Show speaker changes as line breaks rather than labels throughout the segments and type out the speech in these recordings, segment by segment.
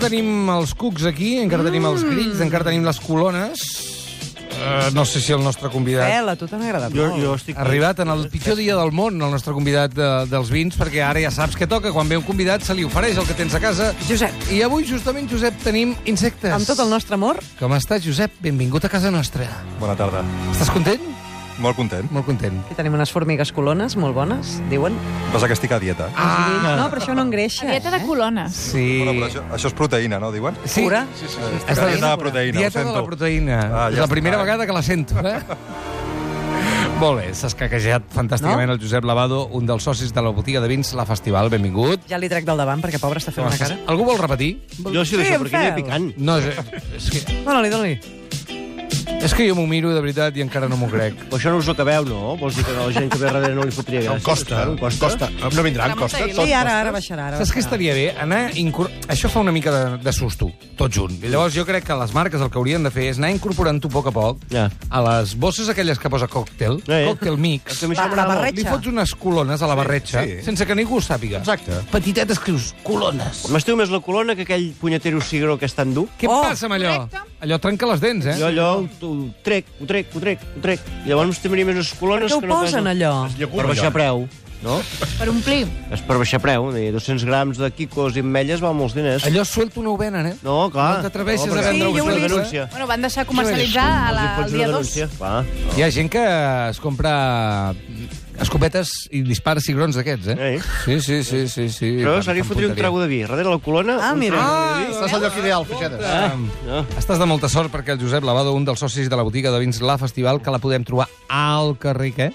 tenim els cucs aquí, encara tenim els
Mm.
grills, encara tenim les colones. Uh, no sé si el nostre convidat
Pela, a tu t'han agradat
Jo,
molt.
jo estic...
ha arribat en el pitjor dia del món, el nostre convidat de, dels vins, perquè ara ja saps que toca. Quan ve un convidat se li ofereix el que tens a casa.
Josep,
I avui, justament, Josep, tenim insectes.
amb tot el nostre amor,
Com estàs, Josep? Benvingut a casa nostra.
Bona tarda.
Estàs content?
Molt content.
Molt content.
aquí tenim unes formigues colones molt bones, diuen.
Passa que estic a dieta.
Ah. No, però això no engreixa. eh?"
La dieta de
Ah,
colones.
Sí.
Bueno, però això, això és proteïna, no, diuen?
Sí.
Pura.
Sí, sí, sí.
Està
Estic a
bé.
dieta de proteïna,
Dieta
ho
de
sento.
tota la proteïna.
Ah,
és
ja
la primera
està.
vegada que la sento, eh? Molt bé, s'ha escaquejat fantàsticament
No?
el Josep Lavado, un dels socis de la botiga de vins La Festival. Benvingut.
Ja li trec del davant, perquè pobre està fent una cara.
Algú vol repetir?
Jo sí,
Sí,
deixo,
en
perquè aniré
Fel.
picant.
No, és, és, que,
Dóna-li, dóna-li.
és que jo m'ho miro de veritat i encara no m'ho crec.
Però això no us ho acabeu, no? Vols dir que a la gent que ve darrere no li fotria gràcia? Em costa. costa.
No vindran, costa.
Ramon
Sí, ara, ara baixarà. Ara
Saps què
baixarà.
estaria bé? Anar incor... Això fa una mica de, de susto, tot junt. I llavors jo crec que les marques el que haurien de fer és anar incorporant-ho a poc a poc
Ja.
a les bosses aquelles que posa còctel,
Eh, eh.
còctel mix,
Que a mi
Va,
això
la
m'agrada molt.
barreja.
li fots unes colones a la barretxa
sí.
sense que ningú ho sàpiga.
Exacte.
Petitetes creus, colones.
M'estimo més la colona que aquell punyetero cigró que és tan dur.
Què
Oh,
passa amb allò?
correcte.
Allò trenca les dents, eh?
Jo allò ho, ho trec, ho trec, ho trec, ho trec. I llavors m'estimaria més les colones
Què ho
que no pas-
posen, allò?
Per baixar preu. No?
Per omplir.
És per baixar preu. vull dir, 200 grams de quicos i ametlles val molts diners.
Allò suelta una ovena, eh?
No, clar.
No t'atreveixis
perquè
a vendre
els hi
un
fots
sol,
una
eh?
denúncia.
Bueno, van deixar comercialitzar a
Els hi
la, el
fots
dia
una
2.
denúncia. Va.
Hi ha gent que es compra escopetes i dispara cigrons d'aquests, eh?
Ei.
Sí, sí, sí, sí. sí.
Però se li fotria un trago de vi. Darrere la colona...
Ah,
un
mira.
trago.
Estàs al lloc ideal, Fuixedes.
no.
Ah, Estàs de molta sort perquè el Josep Lavado, un dels socis de la botiga de vins La Festival, que la podem trobar al carrer, què?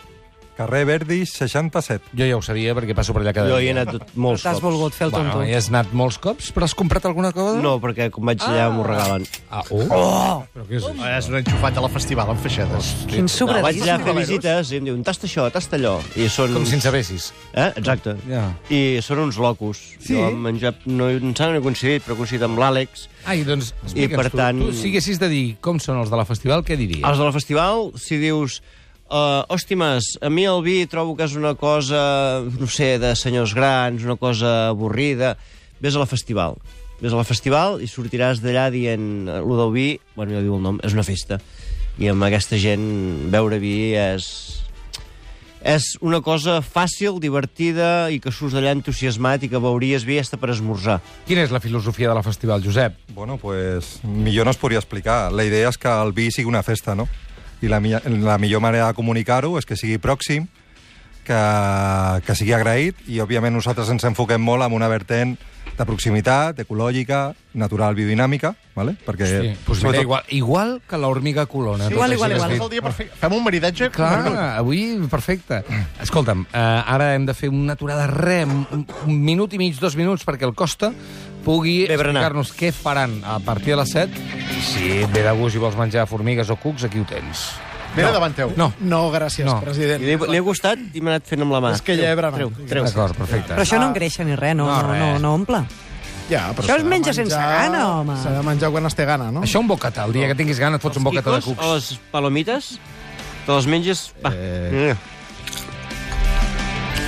Carrer Verdi 67.
Jo ja ho sabia perquè passo per allà cada
Jo hi he
dia.
anat tot- molts
T'has
cops.
volgut fer el
Bueno,
tonto.
hi has anat molts cops, però has comprat alguna cosa?
No, perquè quan vaig allà m'ho regalen.
Ah, oh. oh! Però què és això?
És un enxufat de la festival, en Fuixedes.
Quin
No, vaig allà a fer
sobradís.
visites i em diuen, tasta això, tasta allò. I són...
Com si en sabessis.
Eh? Exacte.
Ja.
I són uns locos.
Sí?
Jo amb en Josep no, em sembla que no he coincidit, però he coincidit amb l'Àlex.
Ai, doncs, explica'ns
per
tu.
tant-
Tu, si haguessis de dir com són els de la festival, què diries?
Els del festival, si dius... Uh, hòstimes, a mi el vi trobo que és una cosa, no sé, de senyors grans, una cosa avorrida. Ves a la festival. Ves a la festival i sortiràs d'allà dient... eh, Lo del vi, bueno, ja diu el nom, és una festa. I amb aquesta gent beure vi és... És una cosa fàcil, divertida i que surts d'allà entusiasmat i que veuries vi hasta per esmorzar.
Quina és la filosofia de la festival, Josep?
Bueno, pues millor no es podria explicar. La idea és que el vi sigui una festa, no? I la, mi- la millor manera de comunicar-ho és que sigui pròxim, que, que sigui agraït, i òbviament nosaltres ens enfoquem molt en una vertent de proximitat, ecològica, natural, biodinàmica, ¿vale? perquè...
Sí, pues mira,
sobretot-
igual, igual que l'hormiga colona. tot
Igual,
això
igual,
que has dit.
igual. És
És el dia perfecte. Fem un maridatge.
Clar, avui perfecte. Escolta'm, eh, ara hem de fer una aturada rem, un, un minut i mig, dos minuts, perquè el Costa pugui
Bé, berenar.
explicar-nos què faran a partir de les 7. Si et ve de gust i vols menjar formigues o cucs, aquí ho tens.
Mira davant teu.
No.
no gràcies,
No.
I
president.
L'he l'he gustat i m'he anat fent amb la mà.
És que ja he berenat.
Treu, treu.
D'acord, perfecte.
Però això
Ah.
no engreixa ni res, no,
No,
no, no,
res.
no omple.
Ja, però
Això
s'ha
es
de
menja sense gana, home.
S'ha de menjar quan es té gana, no?
Això un bocata. El dia que tinguis gana et fots un bocata de
Quicos
cucs.
O les palomites, te les menges... Va. Eh...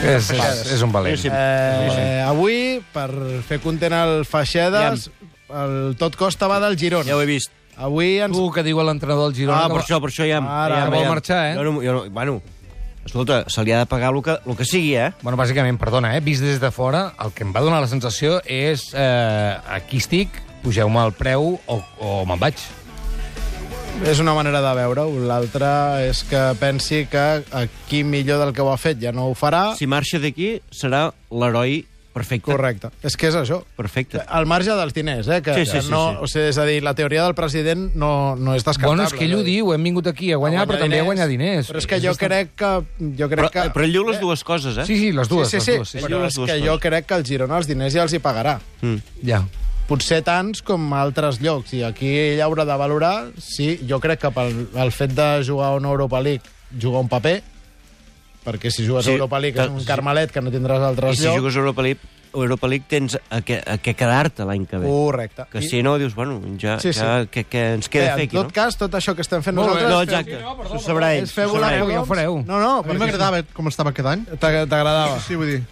És, és, és un valent.
Sí, sí.
Eh, eh, avui, per fer content el Faixedes, el Tot Costa va del Girona.
Ja ho he vist.
Avui ens...
Tu que diu l'entrenador del Girona...
Ah,
que
per
va-
això, per això ja... em-
Ara,
ja, em-
vol
ja em-
marxar, eh?
Jo no, jo no, bueno, escolta, se li ha de pagar el que, el que sigui, eh?
Bueno, bàsicament, perdona, eh? vist des de fora, el que em va donar la sensació és eh, aquí estic, pugeu-me el preu o, o me'n vaig.
És una manera de veure-ho. L'altra és que pensi que aquí millor del que ho ha fet ja no ho farà.
Si marxa d'aquí, serà l'heroi perfecte.
Ah. Correcte. Ah, És que és això.
Perfecte.
Al marge dels diners, eh? Que,
Sí, sí,
que
sí,
no,
sí.
O sigui, és a dir, la teoria del president no, no és descartable.
Bueno, és que ell ho diu, hem vingut aquí a guanyar, però també a guanyar diners.
Però és que jo crec que... Jo crec
Però,
que...
però ell diu les dues coses, eh?
Sí, sí, les dues,
sí, sí, sí.
les dues. Sí, sí.
Però
Les
és
dues
que
coses.
jo crec que el Girona els diners ja els hi pagarà.
Mm.
Ja.
Potser tants com a altres llocs. I aquí ell haurà de valorar si... Jo crec que pel el fet de jugar a una Europa League juga un paper, perquè si jugues
Sí,
a Europa League és
clar,
un
sí.
carmelet que no tindràs
I
altres
si
llocs.
jugues a Europa League, a Europa League tens a què, a què quedar-te l'any que ve.
Correcte.
Que
Oh, I-
si no, dius, bueno, ja,
Sí, sí.
ja que, que ens
Bé,
queda
en
fer aquí,
tot
no?
cas, tot això que estem fent
Molt bé.
nosaltres...
No, exacte,
fer-
s'ho sabrà ell.
És fer
s'ho
volar
sabrà ell.
Ja ho fareu.
No, no,
A mi
perquè
m'agradava com estava aquest any.
t'a- t'agradava.
Sí, vull dir,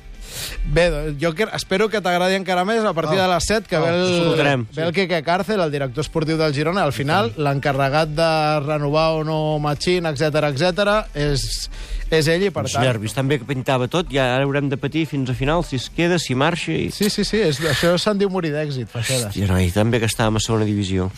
Bé, doncs, jo que- espero que t'agradi encara més a partir de les 7, que ve el,
disfrutarem,
ve el Quique Càrcel, el director esportiu del Girona, al final l'encarregat de renovar o no Machín, etc etc és, és ell i per
Uns
tant...
nervis, també que pintava tot, i ara haurem de patir fins a final, si es queda, si marxa... I...
Sí, sí, sí, és, això se'n diu morir d'èxit, Faixedes.
Hòstia, noi, també que estàvem a segona divisió.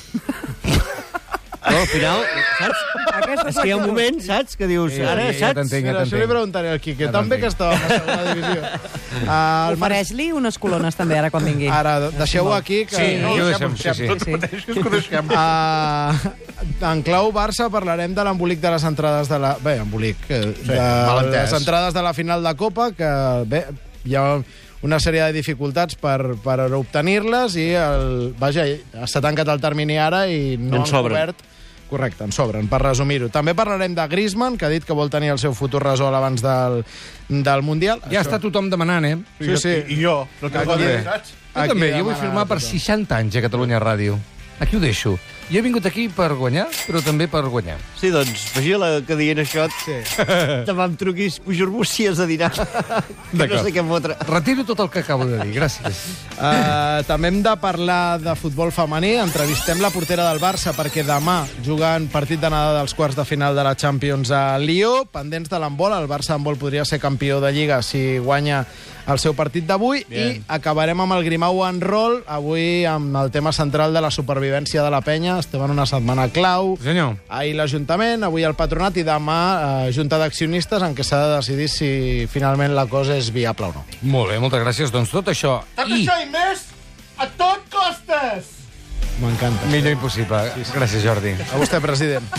no, al final, saps?
Aquesta
És que hi ha un moment, saps, que dius,
Sí,
ara,
sí, ja
saps?
t'entenc.
Mira, això li preguntaré al Quique.
Ja
També
t'entenc.
que estàvem a segona divisió. Ah, el Marc...
Ofereix-li unes colones també, ara quan vingui.
Ara, deixeu-ho aquí. Que...
Sí, aquí ho deixem, sí, sí.
Sí.
Ah, en clau Barça parlarem de l'embolic de les entrades de la... Bé, embolic. eh, De les entrades de la final de Copa, que bé, hi ha una sèrie de dificultats per, per obtenir-les i el, vaja, s'ha tancat el termini ara i no
En
han
sobren.
cobert Correcte, en sobren, per resumir-ho. També parlarem de Griezmann, que ha dit que vol tenir el seu futur resolt abans del, del Mundial.
Ja està tothom demanant, eh?
Sí, sí. I jo, però que
també. Jo també, jo vull firmar per 60 anys a Catalunya Ràdio. Aquí ho deixo. Jo he vingut aquí per guanyar, però també per guanyar.
Sí, doncs, vigila que dient això, sí. demà em truquis pujormúcies a dinar, que no
D'acord.
sé què fotre.
Retiro tot el que acabo de dir, gràcies.
Uh, també hem de parlar de futbol femení. Entrevistem la portera del Barça perquè demà juguen partit d'anada dels quarts de final de la Champions a Lió. Pendents de l'handbol, el Barça handbol podria ser campió de Lliga si guanya el seu partit d'avui. I acabarem amb el Grimau en rol, avui amb el tema central de la supervivència de la penya. Estem en una setmana clau.
Senyor,
Ahir l'Ajuntament, avui el Patronat i demà eh, Junta d'Accionistes en què s'ha de decidir si finalment la cosa és viable o no.
molt bé, moltes gràcies. Doncs tot això i
i més a tot costes! M'encanta.
millor impossible. Gràcies, Jordi.
A vostè, president.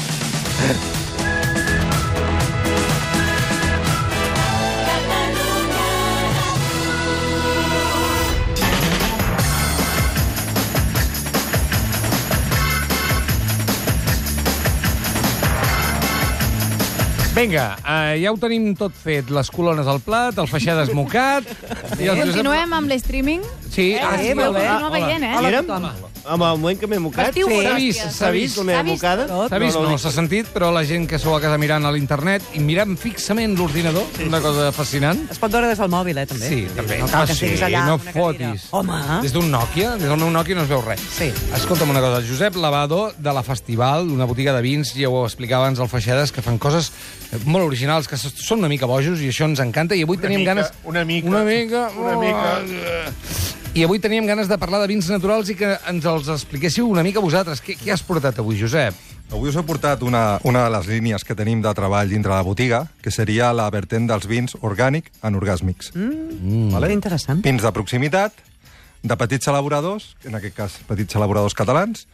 Vinga, eh, ja ho tenim tot fet. Les colones al plat, el feixer desmocat... I el
Continuem amb l'streaming.
Sí,
Ah,
ah, sí,
sí, ho
hola.
continuo
Hola.
veient, eh?
Hi érem?
tothom.
Home, el moment que m'he mocat...
Vestiu
Sí.
sí.
S'ha
vist, s'ha
S'ha vist la meva mocada?
S'ha vist? No, s'ha sentit, però la gent que sou a casa mirant a l'internet i mirant fixament l'ordinador, una cosa fascinant.
Es pot veure des del mòbil, eh, també.
Sí, també.
No cal que
Ah, sí,
estiguis allà
no
amb una cadira.
fotis.
Home,
Des d'un Nokia, des del meu Nokia no es veu res.
Sí.
Escolta'm una cosa, el Josep Lavado, de la Festival, una botiga de vins, ja ho explicava abans al Feixedes, que fan coses molt originals, que són una mica bojos, i això ens encanta, i avui teníem
mica,
ganes...
una mica.
Una mica... oh!
Una mica.
I avui teníem ganes de parlar de vins naturals i que ens els expliquéssiu una mica vosaltres. Què, què has portat avui, Josep?
Avui us he portat una, una de les línies que tenim de treball dintre la botiga, que seria la vertent dels vins orgànic anorgàsmics. Mm.
que interessant.
Vins de proximitat, de petits elaboradors, en aquest cas petits elaboradors catalans,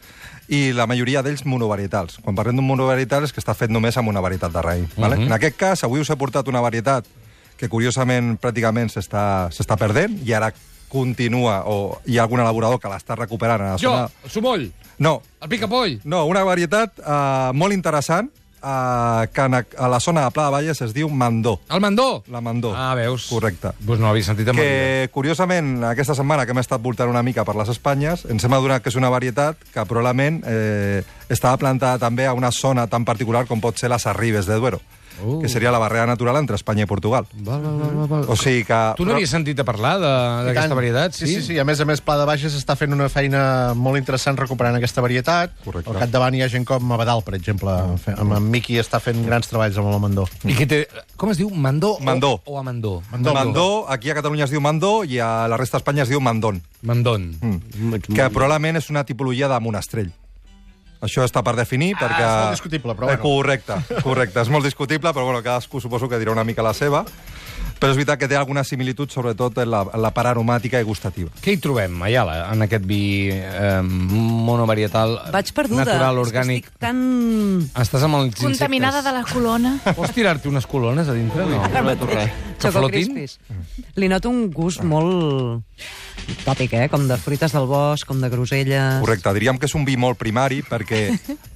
i la majoria d'ells monovarietals. Quan parlem d'un monovarietal és que està fet només amb una varietat de raïm. vale? En aquest cas, avui us he portat una varietat que curiosament pràcticament s'està s'està perdent i ara continua, o hi ha algun elaborador que l'està recuperant a la zona...
el Sumoll,
No,
el Picapoll.
no, una varietat eh, molt interessant eh, que en, a la zona de Pla de Valles es diu mandó.
El mandó.
La mandó.
Ah, veus?
Correcte.
Doncs no l'havia sentit en
Que, curiosament, aquesta setmana que hem estat voltant una mica per les Espanyes, ens hem adonat que és una varietat que probablement eh, estava plantada també a una zona tan particular com pot ser les Arribes de Duero, uh. que seria la barrera natural entre Espanya i Portugal.
Va, va, va, va, va.
O sigui que...
Tu no havies sentit a parlar de-
I tant.
d'aquesta varietat?
Sí, sí, sí. A més a més, Pla de Baixes està fent una feina molt interessant recuperant aquesta varietat.
Correcte.
Al capdavant hi ha gent com Abadal, per exemple. Fe- Amb en Miqui està fent grans treballs amb el Mandó.
I que té... Com es diu? Mandó? o-
Mandó.
O, amandó?
Mandó, mandó, aquí a Catalunya es diu mandó i a la resta d'Espanya es diu mandón.
Mandón.
Mm. Que probablement és una tipologia de monastrell. Això està per definir, ah, perquè...
és molt discutible, però
Eh,
bueno.
Correcte, correcte. és molt discutible, però bueno, cadascú suposo que dirà una mica la seva. Però és veritat que té alguna similitud, sobretot en la, en la part aromàtica i gustativa.
Què hi trobem, Ayala, en aquest vi eh, monovarietal
Vaig perduda.
natural,
És que
orgànic?
Estic tan...
Estàs amb els insectes.
Contaminada de la colona.
Pots tirar-te unes colones a dintre? No. Que
Choco
flotin?
Crispis. Li noto un gust molt tòpic, eh? Com de fruites del bosc, com de groselles...
Correcte, diríem que és un vi molt primari perquè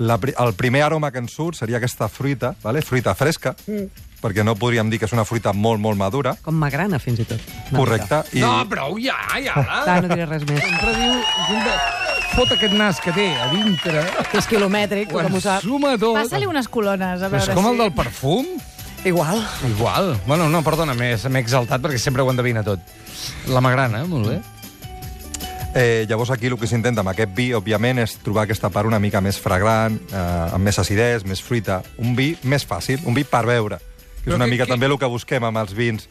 la, pri- el primer aroma que ens surt seria aquesta fruita, vale? fruita fresca, mm. perquè no podríem dir que és una fruita molt, molt madura.
Com magrana, fins i tot. Una
Correcte. I...
No, prou ja, Ayala!
mica. Va, no diré res més.
Sempre diu... Junta, Fot aquest nas que té a dintre,
És quilomètric,
ho
com ho sap.
ensuma tot.
Passa-li unes colones, a
Però
veure
és com
si...
el del perfum?
Igual.
Igual. Bueno, no, perdona, m'he m'he exaltat perquè sempre ho endevina tot. La magrana, molt bé.
Eh, llavors aquí el que s'intenta amb aquest vi, òbviament, és trobar aquesta part una mica més fragrant, eh, amb més acidès, més fruita. Un vi més fàcil, un vi per beure, que és
Però
una
que-
mica
que-
també el que busquem amb els vins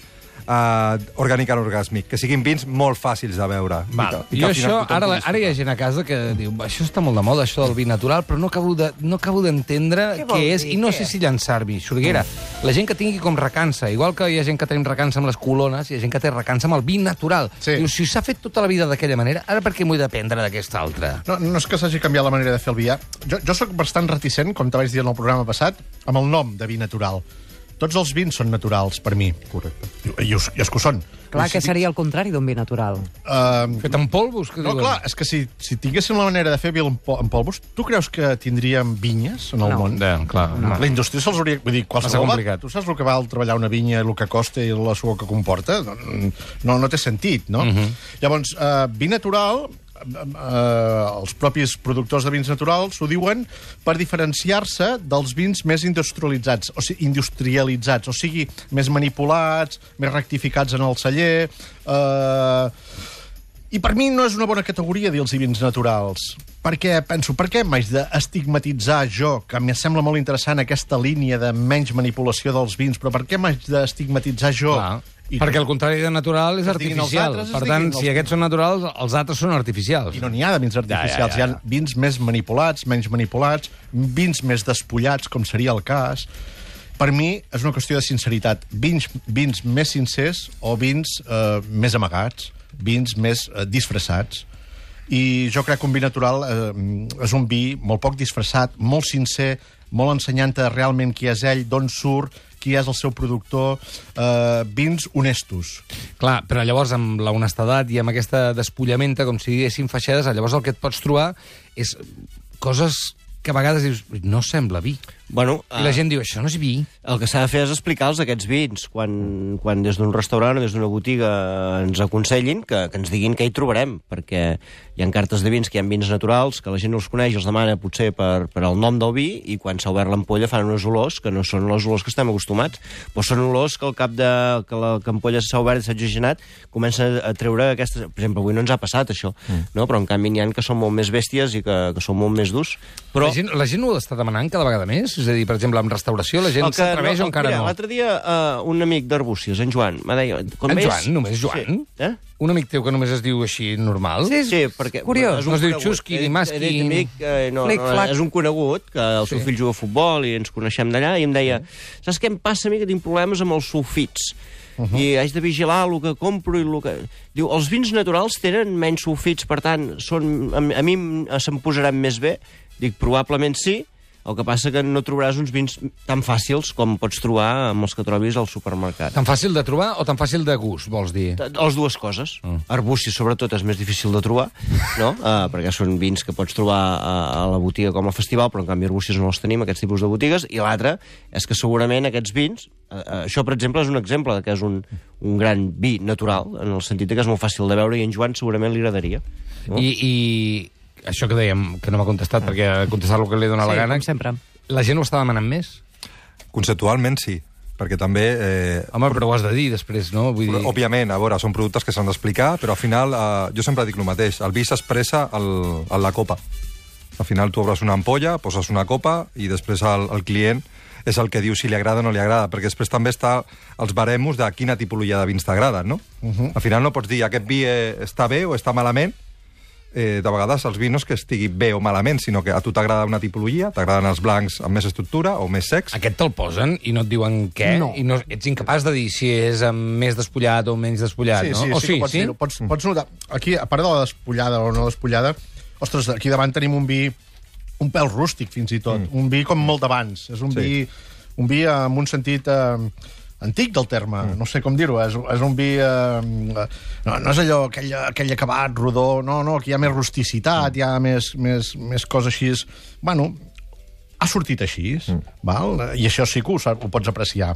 eh, orgànic anorgàsmic, que siguin vins molt fàcils de beure.
Val.
I que- i que
Jo
al final
això,
tothom
ara,
pugui
la- ara hi ha
disfrutar.
gent a casa que diu això està molt de moda, això del vi natural, però no acabo de- no acabo d'entendre
Què
què,
vol
què és
dir?
i no
Què
sé
és?
si llançar-vi. Sorguera, la gent que tingui com recança, igual que hi ha gent que tenim recança amb les colones, hi ha gent que té recança amb el vi natural.
Sí.
Diu, si s'ha fet tota la vida d'aquella manera, ara per què m'ho he de prendre d'aquesta altra?
No, no és que s'hagi canviat la manera de fer el vi. ja. Jo, jo sóc bastant reticent, com te vaig dir en el programa passat, amb el nom de vi natural. Tots els vins són naturals, per mi. Correcte. I, i, us, i els que ho són.
Clar que
si,
seria el contrari d'un vi natural.
Uh,
Fet amb polvos? Que
no,
diuen?
clar, és que si, si tinguéssim la manera de fer vi en, pol, en polvos, tu creus que tindríem vinyes en el
No.
món?
Ja, clar.
La indústria se'ls hauria... Vull dir,
Massa
qualsevol... Va,
complicat.
tu saps el que val treballar una vinya, el que costa i la suor que comporta? No, no, no té sentit, no? Uh -huh. Llavors, eh, vi natural, eh, eh, els propis productors de vins naturals ho diuen per diferenciar-se dels vins més industrialitzats, o sigui, industrialitzats, o sigui, més manipulats, més rectificats en el celler... Eh, i per mi no és una bona categoria dir els vins naturals. Perquè, penso, per què m'haig d'estigmatitzar jo, que em sembla molt interessant aquesta línia de menys manipulació dels vins, però per què m'haig d'estigmatitzar jo?
Clar. I perquè el contrari de natural és
Que es diguin els
artificial.
altres, es
per
diguin
tant,
els-
si aquests són naturals, els altres són artificials.
I no n'hi ha de vins artificials, ja, ja, ja. hi ha vins més manipulats, menys manipulats, vins més despullats, com seria el cas. Per mi és una qüestió de sinceritat. Vins, vins més sincers o vins eh, més amagats, vins més eh, disfressats. I jo crec que un vi natural eh, és un vi molt poc disfressat, molt sincer, molt ensenyant realment qui és ell, d'on surt, qui és el seu productor, eh, vins honestos.
Clar, però llavors amb la honestedat i amb aquesta despullamenta, com si diguéssim faixedes, llavors el que et pots trobar és coses que a vegades dius, no sembla vi.
Bueno, eh,
I la gent diu, això no és vi.
El que s'ha de fer és explicar-los aquests vins quan, quan des d'un restaurant o des d'una botiga ens aconsellin que, que ens diguin què hi trobarem, perquè hi ha cartes de vins que hi ha vins naturals, que la gent no els coneix, els demana potser per, per el nom del vi, i quan s'ha obert l'ampolla fan unes olors que no són les olors que estem acostumats, però són olors que al cap de que la- que l'ampolla s'ha obert i s'ha oxigenat comença a treure aquestes... Per exemple, avui no ens ha passat això, mm. no? però en canvi n'hi ha que són molt més bèsties i que, que són molt més durs, però...
La gent, la gent ho està demanant cada vegada més? És a dir, per exemple, amb restauració la gent
El que
s'atreveix
no-
o encara
mira,
no?
L'altre dia uh, un amic d'Arbúcies, en Joan, m'ha dit...
En Joan, només Joan?
Sí, eh?
Un amic teu que només es diu així, normal?
Sí,
Sí, perquè...
Curiós.
és
No
un
es diu
conegut.
Xusqui,
He dit-
ni Masqui,
he dit
ni-
amic, eh, no,
Flic,
no,
flac.
és un conegut, que el seu fill juga a futbol i ens coneixem d'allà, i em deia, saps què em passa a mi, que tinc problemes amb els sulfits? Uh -huh. i haig de vigilar el que compro i el que... Diu, els vins naturals tenen menys sulfits, per tant, són, a, mi- a mi em- se'm posaran més bé? Dic, probablement sí, el que passa que no trobaràs uns vins tan fàcils com pots trobar amb els que trobis al supermercat.
Tan fàcil de trobar o tan fàcil de gust, vols dir?
T- Les dues coses. Mm. Arbúcies, sobretot, és més difícil de trobar, no? Uh, perquè són vins que pots trobar a, a la botiga com a festival, però en canvi arbúcies no els tenim, aquests tipus de botigues. I l'altre és que segurament aquests vins... Uh, això, per exemple, és un exemple de que és un, un gran vi natural, en el sentit de que és molt fàcil de veure i en Joan segurament li agradaria. No?
I, I això que dèiem, que no m'ha contestat, perquè a contestar el que li dóna la
Sí,
gana...
com sempre.
La gent ho està demanant més?
Conceptualment, sí, perquè també... Eh,
Home, però ho has de dir després, no? Vull dir...
Però, òbviament, a veure, són productes que s'han d'explicar, però al final, eh, jo sempre dic el mateix, el vi s'expressa al- en la copa. Al final tu obres una ampolla, poses una copa i després el, el client és el que diu si li agrada o no li agrada, perquè després també està els baremos de quina tipologia de vins t'agraden, no? Uh -huh. Al final no pots dir aquest vi eh, està bé o està malament, eh, de vegades els vinos que estigui bé o malament, sinó que a tu t'agrada una tipologia, t'agraden els blancs amb més estructura o més secs,
Aquest te'l posen i no et diuen què?
No.
I no ets incapaç de dir si és amb més despullat o menys despullat,
sí,
no?
Sí,
o
sí, que pots dir-ho. Pots, pots notar... Aquí, a part de la despullada o no despullada, ostres, aquí davant tenim un vi un pèl rústic, fins i tot. Mm. Un vi com molt d'abans. És un,
Sí.
sí. vi, un vi amb un sentit... Eh, antic del terme, mm. no sé com dir-ho, és, és un vi... Eh, no, no és allò, aquell, aquell acabat rodó, no, no, aquí hi ha més rusticitat, mm. hi ha més, més, més coses així... Bueno, ha sortit així, mm. val? i això sí que ho, sap- ho pots apreciar.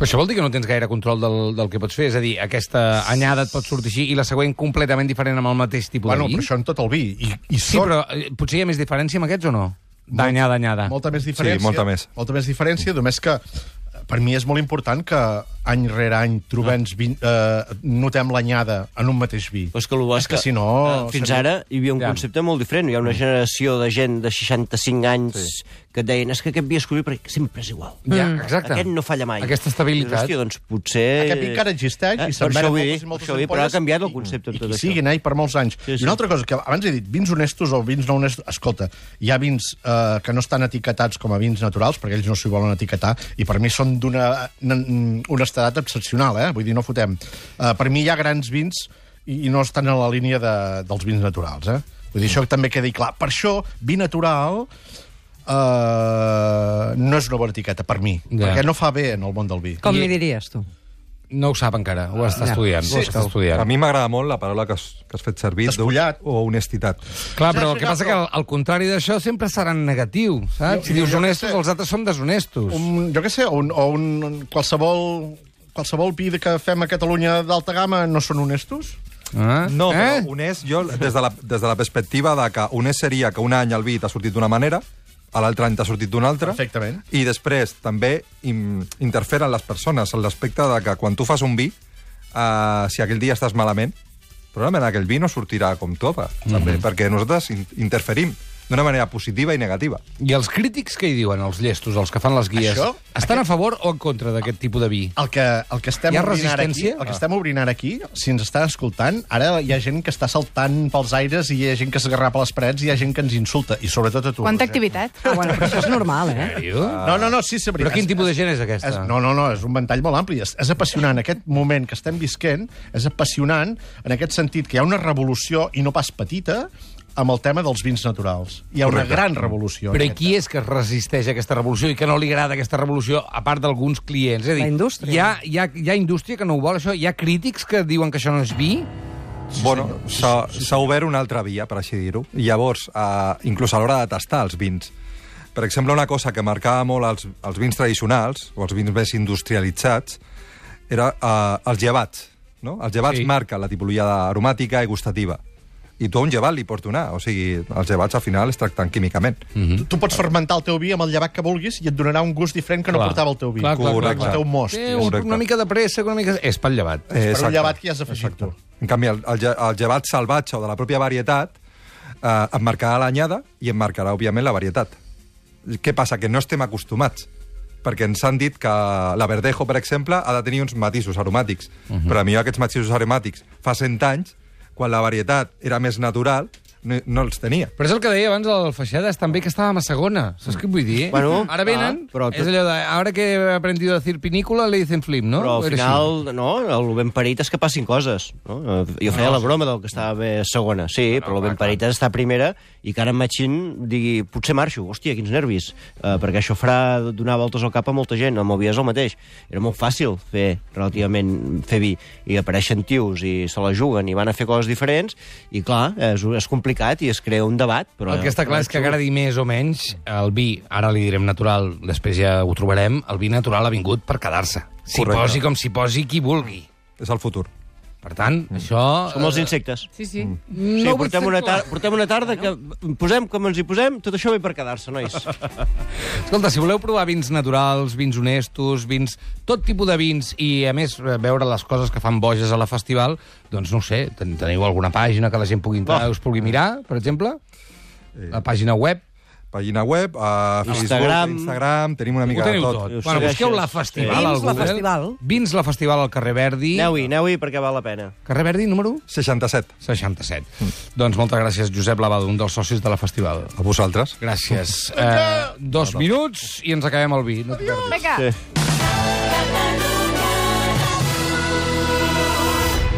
Però això vol dir que no tens gaire control del, del que pots fer? És a dir, aquesta anyada et pot sortir així i la següent completament diferent amb el mateix tipus
Bueno,
de
però
vi?
això en tot el vi. I, i
Sí,
sort
però eh, potser hi ha més diferència amb aquests o no? D'anyada, anyada.
molta més diferència.
molta més.
Molta més diferència, només que eh, per mi és molt important que any rere any trobem, vin, eh, notem l'anyada en un mateix vi.
Ah. Però és que el bo és,
que si no,
eh, Fins
seria- Mm.
ara hi havia un concepte molt diferent. Hi ha una generació de gent de 65 anys sí. que et deien és que aquest vi és curiós perquè sempre és igual.
Ja,
Mm.
exacte.
Aquest no falla mai.
Aquesta estabilitat.
Dius, Hòstia, doncs potser...
Aquest vi encara existeix i
eh, per això
se'n venen
vull
moltes
dir,
i moltes
per això vull dir, però
ampolles
ha canviat
i-
el concepte
i
de tot
qui
això.
siguin, eh, i per molts anys.
Sí, sí.
I una altra cosa, que abans he dit vins honestos o vins no honestos... Escolta, hi ha vins eh, que no estan etiquetats com a vins naturals, perquè ells no s'hi volen etiquetar, i per mi són d'una n- honestedat excepcional, eh? Vull dir, no fotem. Eh, per mi hi ha grans vins i, i no estan a la línia de, dels vins naturals, eh? Vull dir, això també quedi clar. Per això, vi natural... Uh, no és una bona etiqueta, per mi.
Ja.
Perquè no fa bé en el món del vi.
Com I... m'hi diries, tu?
No ho sap encara, ho està
Ja.
estudiant. Ho està estudiant.
A mi m'agrada molt la paraula que has, que has fet servir.
Despullat.
d'ho- O honestitat.
Clar, però
Saps,
el que passa que al al contrari d'això sempre seran negatiu, saps? Si
Jo-
dius
jo què
honestos,
sé.
els altres són deshonestos.
un, jo què sé, o un, o un qualsevol qualsevol pi que fem a Catalunya d'alta gamma no són honestos?
Ah?
No,
eh?
però honest, jo, des de, la, des de la perspectiva de que honest seria que un any el vi t'ha sortit d'una manera, a l'altre any t'ha sortit d'una altra.
Perfectament.
I després també im, interferen les persones en l'aspecte de que quan tu fas un vi, eh, si aquell dia estàs malament, probablement aquell vi no sortirà com toca, també, perquè nosaltres in- interferim d'una manera positiva i negativa.
I els crítics què hi diuen, els llestos, els que fan les guies?
Això?
Estan a favor o en contra d'aquest tipus de vi?
El que, el que estem
Hi ha
obrint ara aquí,
resistència?
el que
Ah.
estem obrint ara aquí, si ens estan escoltant, ara hi ha gent que està saltant pels aires, i hi ha gent que s'agarrapa les parets, i hi ha gent que ens insulta, i sobretot a tu.
Quanta
Roger.
activitat.
Ah, bueno, però això és normal, eh?
Ah.
No, no, no, sí, sí,
Però quin tipus de gent és aquesta?
És, no, no, no, és un ventall molt ampli. És, és apassionant. Aquest moment que estem visquent és apassionant en aquest sentit que hi ha una revolució, i no pas petita, amb el tema dels vins naturals. Hi ha una
Correcte.
gran revolució. en
Però i
aquest
qui és que es resisteix a aquesta revolució i que no li agrada aquesta revolució, a part d'alguns clients? És a dir,
La indústria.
Hi ha, hi, ha, hi ha indústria que no ho vol, això? Hi ha crítics que diuen que això no és vi?
Sí, bueno, s'ha s'ha obert una altra via, per així dir-ho. I Llavors, eh, inclús a l'hora de tastar els vins, per exemple, una cosa que marcava molt els, els vins tradicionals, o els vins més industrialitzats, era eh, els llevats. No? Els llevats
Sí.
sí. marquen la tipologia aromàtica i gustativa. I tu a un llevat li pots donar. O sigui, els llevats al final es tracten químicament. Mm.
Tu, tu pots fermentar el teu vi amb el llevat que vulguis i et donarà un gust diferent que no
Clar.
portava el teu vi.
Clar, clar,
clar,
El
clar.
teu most.
Té
És
un,
correcte.
una mica de pressa, una mica... És pel llevat.
Eh,
per
exacte.
un llevat que hi has afegit tu.
En canvi, el, el, lle- el llevat salvatge o de la pròpia varietat eh, et marcarà l'anyada i et marcarà, òbviament, la varietat. Què passa? Que no estem acostumats. Perquè ens han dit que la verdejo, per exemple, ha de tenir uns matisos aromàtics. Uh -huh. Però a mi aquests matisos aromàtics fa 100 anys, quan la varietat era més natural, no, no els tenia.
Però és el que deia abans el Feixades, també, que estàvem a segona. Saps què vull dir?
Bueno,
ara venen,
ah, però
és
tot-
allò de... Ara que he aprendido a decir pinícola, le dicen flim, no?
Però al
Era
final, no, el ben parit és que passin coses. No? Eh, Jo feia la broma del que estava bé segona, sí, però el ben parit està a primera i que ara en Machín digui, potser marxo, hòstia, quins nervis, uh, perquè això farà donar voltes al cap a molta gent, amb el vi és el mateix. Era molt fàcil fer, relativament, fer vi, i apareixen tios i se la juguen i van a fer coses diferents, i clar, és, és complicat i es crea un debat, però...
El que està clar és que agradi més o menys el vi, ara li direm natural, després ja ho trobarem, el vi natural ha vingut per quedar-se. S'hi
Correcte.
posi com s'hi posi qui vulgui.
És el futur.
Per tant, això... eh,
Com Mm. els insectes.
Sí, sí.
No
Sí,
ho
portem,
veig
una
clar.
tar portem una tarda que posem com ens hi posem, tot això ve per quedar-se, nois.
Escolta, si voleu provar vins naturals, vins honestos, vins... tot tipus de vins i, a més, eh, veure les coses que fan boges a la festival, doncs no ho sé, ten teniu alguna pàgina que la gent pugui entrar,
Oh.
us pugui mirar, per exemple? La pàgina web?
Pàgina web, a Facebook,
Instagram.
Instagram, tenim una mica
Ho teniu
de
tot.
tot.
Us
Bueno, busqueu
segueixes.
la festival
Vins
al
la
Google.
Festival.
Vins la festival al carrer Verdi.
Aneu-hi, aneu-hi perquè val la pena.
Carrer Verdi número
67.
67.
Mm.
Doncs moltes gràcies, Josep Lavado, un dels socis de la festival.
A vosaltres.
Gràcies. Eh, dos minuts i ens acabem el vi. No t'hi perdis.
Vinga.
Sí.